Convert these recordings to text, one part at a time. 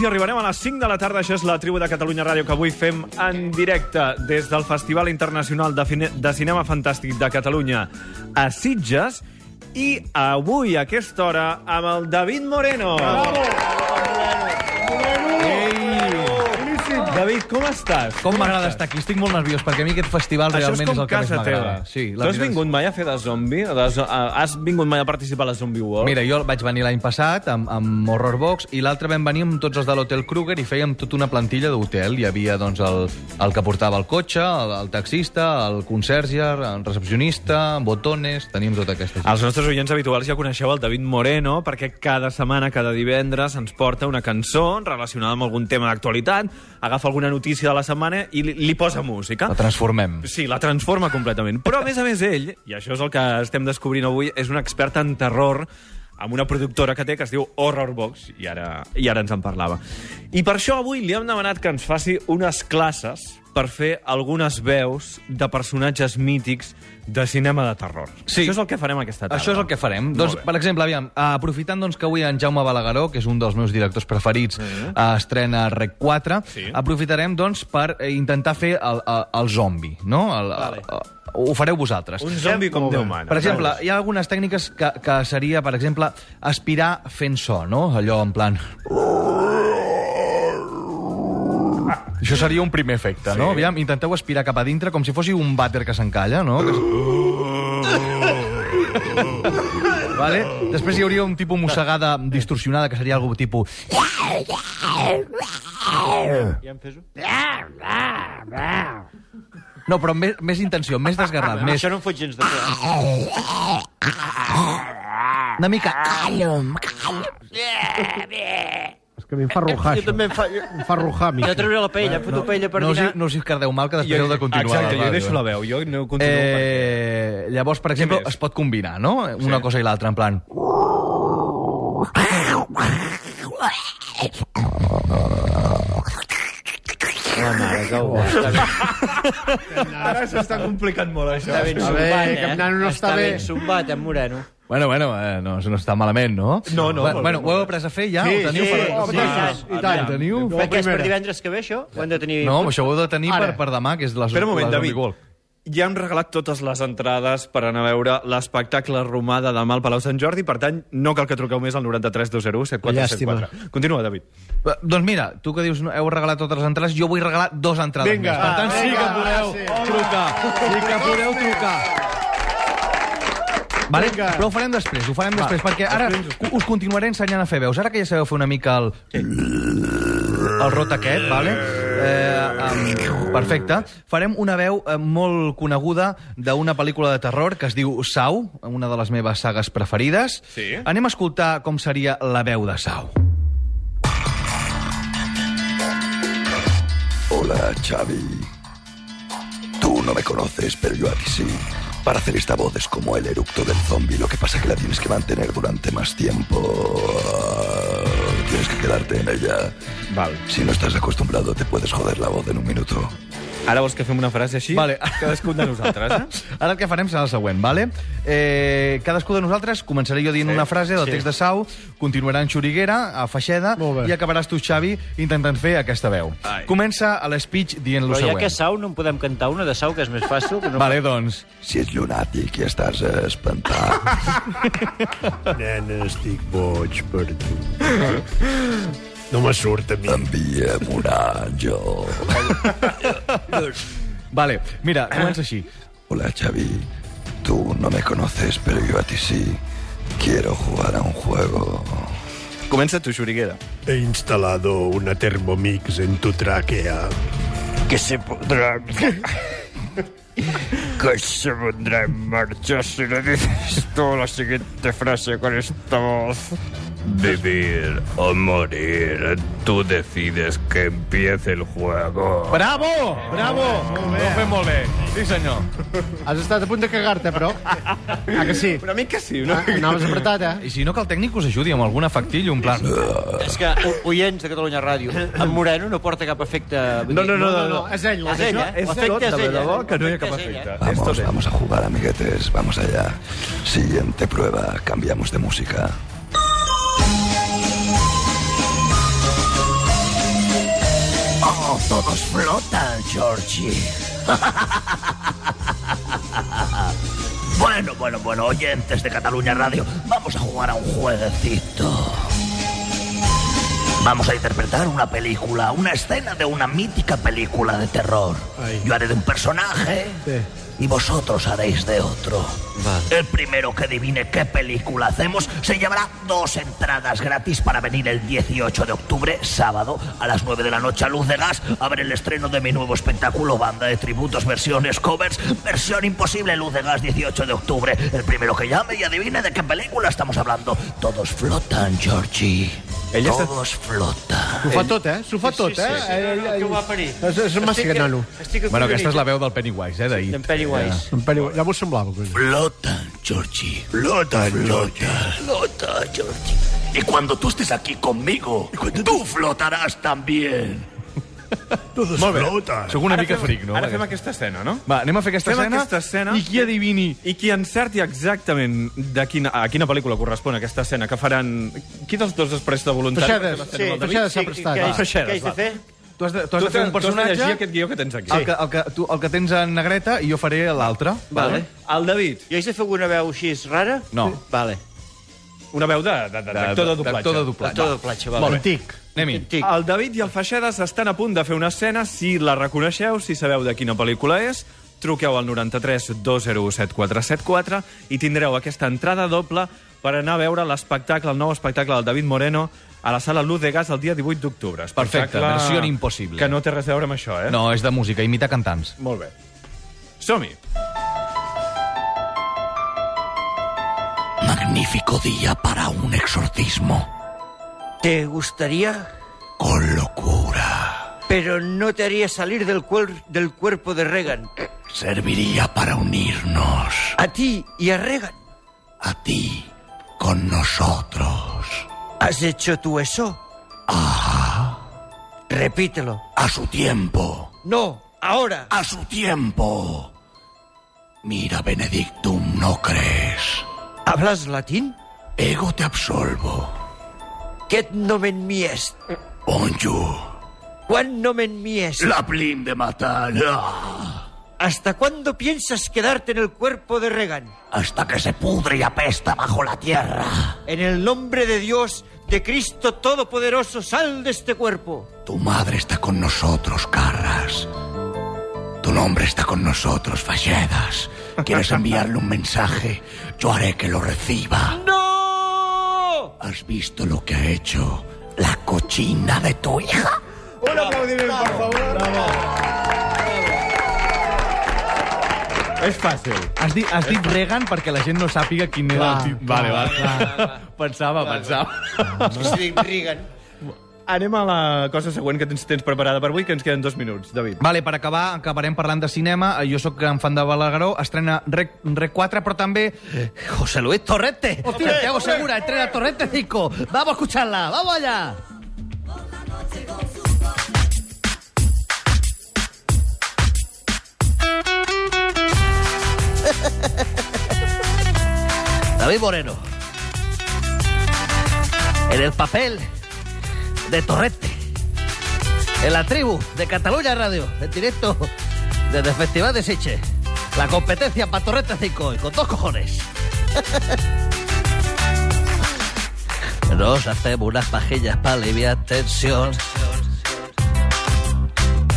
i arribarem a les 5 de la tarda. Això és la tribu de Catalunya Ràdio que avui fem en directe des del Festival Internacional de, Fine de Cinema Fantàstic de Catalunya a Sitges i avui, a aquesta hora, amb el David Moreno. Bravo! David, com estàs? Com m'agrada estar aquí? Estic molt nerviós, perquè a mi aquest festival Això és realment és, com el que més casa teva. m'agrada. Sí, tu has veritat és- vingut mai a fer de zombi? De zo a- has vingut mai a participar a la Zombie World? Mira, jo vaig venir l'any passat amb, amb Horror Box i l'altre vam venir amb tots els de l'Hotel Kruger i fèiem tota una plantilla d'hotel. Hi havia doncs, el, el que portava el cotxe, el, el taxista, el conserge, el recepcionista, botones... Teníem tota aquesta gent. Els nostres oients habituals ja coneixeu el David Moreno perquè cada setmana, cada divendres, ens porta una cançó relacionada amb algun tema d'actualitat, agafa alguna notícia de la setmana i li, li posa música. La transformem. Sí, la transforma completament. Però, a més a més, ell, i això és el que estem descobrint avui, és un expert en terror amb una productora que té que es diu Horrorbox, i ara, i ara ens en parlava. I per això avui li hem demanat que ens faci unes classes per fer algunes veus de personatges mítics de cinema de terror. Sí. Això és el que farem aquesta tarda. Això és el que farem. Molt Doncs, bé. per exemple, aviam, eh, aprofitant doncs, que avui en Jaume Balagueró, que és un dels meus directors preferits, eh, estrena Rec 4, Mm -hmm. Sí. aprofitarem doncs, per eh, intentar fer el, el, el zombi, no? El, vale. ho fareu vosaltres. Un zombi com Déu mana. Per exemple, hi ha algunes tècniques que, que seria, per exemple, aspirar fent so, no? Allò en plan... Això seria un primer efecte, sí. no? Aviam, intenteu aspirar cap a dintre com si fossi un vàter que s'encalla, no? Que... s- vale? Després hi hauria un tipus mossegada distorsionada, que seria algo tipus... No, però amb més, més intenció, més desgarrat, més... Això no em fot gens de por. Una mica... Ah. És que a mi em fa rujar, Jo això. també em fa... Jo, Em fa rujar, a mi. jo trauré la paella, em foto paella per no us, hi- dinar. no us hi cardeu mal, que després heu de continuar. Exacte, la jo ràdio, deixo eh? la veu, jo no continuo. Eh... Eh, llavors, per exemple, més? es pot combinar, no? Una cosa i l'altra, en plan... Ara s'està complicant molt, això. Està ben A zumbat, veure, eh? que el nano no està bé. ben zumbat, en Moreno. Bueno, bueno, eh, no, no està malament, no? No, no, molt Bueno, bé, bueno ho heu après a fer ja? Sí, ho teniu sí, per... home, sí, i tant, sí, i ho tant. teniu? No, No, Perquè és per primera. divendres que ve, això? Ho hem de tenir... No, això ho heu de tenir per, Ara. per demà, que és la Espera un moment, la David. Gol. Ja hem regalat totes les entrades per anar a veure l'espectacle romà de demà al Palau Sant Jordi, per tant, no cal que truqueu més al 93 201 7474. Continua, David. Eh, Doncs mira, tu que dius no, heu regalat totes les entrades, jo vull regalar dues entrades Vinga. més. Per tant, Ah, sí que vinga, podeu sí. trucar. Sí que podeu trucar. Vale? Però ho farem després, ho farem després, perquè ara us continuaré ensenyant a fer veus. Ara que ja sabeu fer una mica el... el rot aquest, vale? Eh, um, perfecte. Farem una veu eh, molt coneguda d'una pel·lícula de terror que es diu Sau, una de les meves sagues preferides. Sí. Anem a escoltar com seria la veu de Sau. Hola, Xavi. Tú no me conoces, pero yo aquí sí. Para hacer esta voz es como el eructo del zombie, lo que pasa que la tienes que mantener durante más tiempo. Tienes que quedarte en ella. Val. Si no estás acostumbrado, te puedes joder la voz en un minuto. Ara vols que fem una frase així? Vale. Cadascun de nosaltres, eh? Ara el que farem serà el següent, vale? Eh, cadascú de nosaltres començaré jo dient sí. una frase del sí. text de Sau, continuarà en Xuriguera, a Feixeda, Molt bé. i acabaràs tu, Xavi, intentant fer aquesta veu. Ai. Comença a l'espeech dient lo Però ja següent. que és sau, no en podem cantar una de sau, que és més fàcil. Que no... Vale, doncs... Si es lunático y estás eh, espantado. Nena, estic boig per tu. No me surt a mi. Envíame un ángel. Vale, mira, Eh? comença així. Hola, Xavi. Tú no me conoces, pero yo a ti sí. Quiero jugar a un juego. Comença tu, Xuriguera. He instal·lado una Thermomix en tu tràquea. que se pondrán que se pondrá en marcha si le dices tú la siguiente frase con esta voz. Vivir o morir, tú decides que empiece el juego. Bravo! Bravo! Ho fem molt bé. Sí, senyor. Has estat a punt de cagar-te, però. Ah, que sí? Ah, Una mica sí, no? Anaves apretat, eh? I si no, que el tècnic us ajudi amb algun efectill, un plan... És que, o- oients de Catalunya Ràdio, en Moreno no porta cap efecte... vull dir, no, és ell, És ell, eh? És L'efecte tot, és de ell, debò, eh? que no hi ha cap L'efecte és ell, efecte. És tot Vamos, ell. vamos a jugar, amiguetes. Vamos allá. Siguiente prueba. Cambiamos de música. Oh, todos flotan, Georgie. bueno, bueno, bueno, oyentes de Cataluña Radio, vamos a jugar a un jueguecito. Vamos a interpretar una película, una escena de una mítica película de terror. Yo haré de un personaje y vosotros haréis de otro. El primero que adivine qué película hacemos se llevará dos entradas gratis para venir el 18 de octubre, sábado, a las 9 de la noche a Luz de Gas, a ver el estreno de mi nuevo espectáculo, banda de tributos, versiones, covers, versión imposible, Luz de Gas, 18 de octubre. El primero que llame y adivine de qué película estamos hablando. Todos flotan, Georgie. Ell està- Todos flotan. S'ho fa tot, eh? S'ho fa tot, eh? Eh, eh, Que ho va parir. És, és un Estic- mexicano. estic Bueno, aquesta és la acolorit. veu del Pennywise, eh, d'ahir. En Pennywise. En Pere- Ja m'ho semblava. Coi. Flotan, Georgie. Flotan, Georgie. Flotan, Georgie. Y cuando tú estés aquí conmigo, tú flotarás también. Todos flotan. Sóc una mica fric, no? Ara fem aquesta escena, no? Va, anem a fer aquesta Fem escena. aquesta escena. I qui adivini... I qui encerti exactament de quina, a quina pel·lícula correspon aquesta escena que faran... Qui dels dos es presta voluntari? Freixedes. per fer Sí, l'escena del David? Freixedes s'ha Què prestat. hi- Va. Freixedes, Què hi va. has de fer? Tu has de, tu has Tu de fer un t'has- tu has de personatge... llegir aquest guió que tens aquí. El que, el, que, tu, el que tens en negreta i jo faré l'altre. Vale. El David, Jo he de fer alguna veu així rara? No. Vale. una veu de- de- de- d'actor de, de, de, de, de, de, de, de, de, de, de, de, D'actor de doblatge. L'actor de platja, vale. Molt bé. Antic. Anem-hi. Antic. El David i el Feixedes estan a punt de fer una escena. Si la reconeixeu, si sabeu de quina pel·lícula és, truqueu al 93 2017474 i tindreu aquesta entrada doble per anar a veure l'espectacle, el nou espectacle del David Moreno a la sala Luz de Gas el dia 18 d'octubre. Espectacle Perfecte, versió impossible. Que no té res a veure amb això, eh? No, és de música, imita cantants. Molt bé. Som-hi. Magnífico día para un exorcismo. Te gustaría, Con locura. pero no te haría salir del, cuer- del cuerpo de Reagan. Serviría para unirnos A ti y a Reagan. a ti con nosotros. ¿Has hecho tú eso? Ah. Repítelo. A su tiempo. No, ahora. A su tiempo. Mira, Benedictum, ¿no crees? ¿Hablas latín? Ego te absolvo. Quet nomen mi est. Bonju. Quan nomen mi est. La plin de matar. ¿Hasta cuándo piensas quedarte en el cuerpo de Reagan? Hasta que se pudre y apesta bajo la tierra. En el nombre de Dios, de Cristo Todopoderoso, sal de este cuerpo. Tu madre está con nosotros, Carras. Tu nombre está con nosotros, Falledas. ¿Quieres enviarle un mensaje? Yo haré que lo reciba. ¡No! ¿Has visto lo que ha hecho la cochina de tu hija? És fàcil. Has dit, has dit Reagan perquè la gent no sàpiga quin era Clar, el tip. Vale, vale. Pensava, pensava. Es que si dic Reagan... Anem a la cosa següent que tens, tens preparada per avui, que ens queden dos minuts, David. Vale, per acabar, acabarem parlant de cinema. Eh, Jo sóc gran fan de Balagueró, estrena Rec, Rec 4, però també... eh, José Luis Torrente! Santiago Segura, estrena Torrente 5! Vamos a escucharla, vamos allá! David Moreno. En el papel de Torrente. En la tribu de Cataluña Radio. En directo desde el Festival de Siche. La competencia para Torrente 5 y con dos cojones. Nos hacemos unas pajillas para aliviar tensión.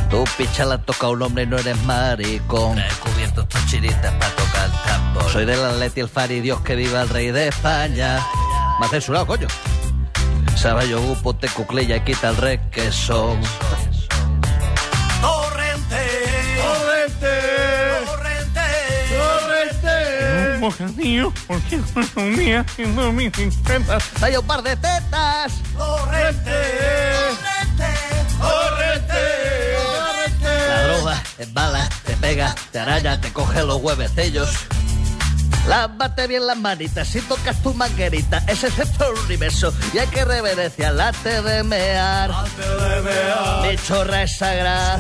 Tú picha la toca a un hombre y no eres maricón. He cubierto estos chiritas para tocar el tambor. Soy del Atleti el Fari, Dios que viva el rey de España. Me ha censurado, coño. Saballo, gupo, te cuclilla y quita el rey que son. ¡Dale un par de tetas! La droga es bala, te pega, te araña, te coge los huevecillos. Lávate bien las manitas si tocas tu manguerita. Ese es el universo y hay que reverenciar la de mear. Mi chorra es sagrada.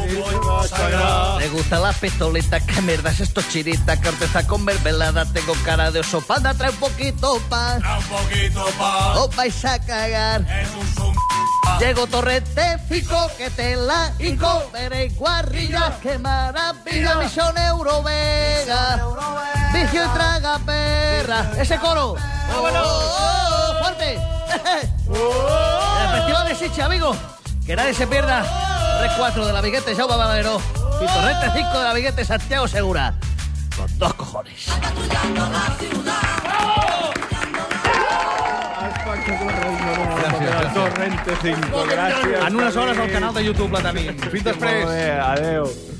Me gustan las pistolitas, qué mierda es esto chirita. Corteza con mermelada, tengo cara de oso panda. Trae un poquito pan, Un poquito pa, os vais a cagar. es un zoom Llego torrente fico que te la hico. Veréis guarrillas, qué maravilla. Misión Eurovega. Vigio y traga perra. Ese coro. Oh, oh, oh, ¡Fuerte! El festival de Siche, amigos. Que nadie se pierda. 3-4 de la Viguete, Jaume Valero. Y torrente 5 de la Viguete, Santiago Segura. Con dos cojones. Torrente 5, gràcies. En unes hores al canal de YouTube la tenim. Fins després. Molt bé, adeu.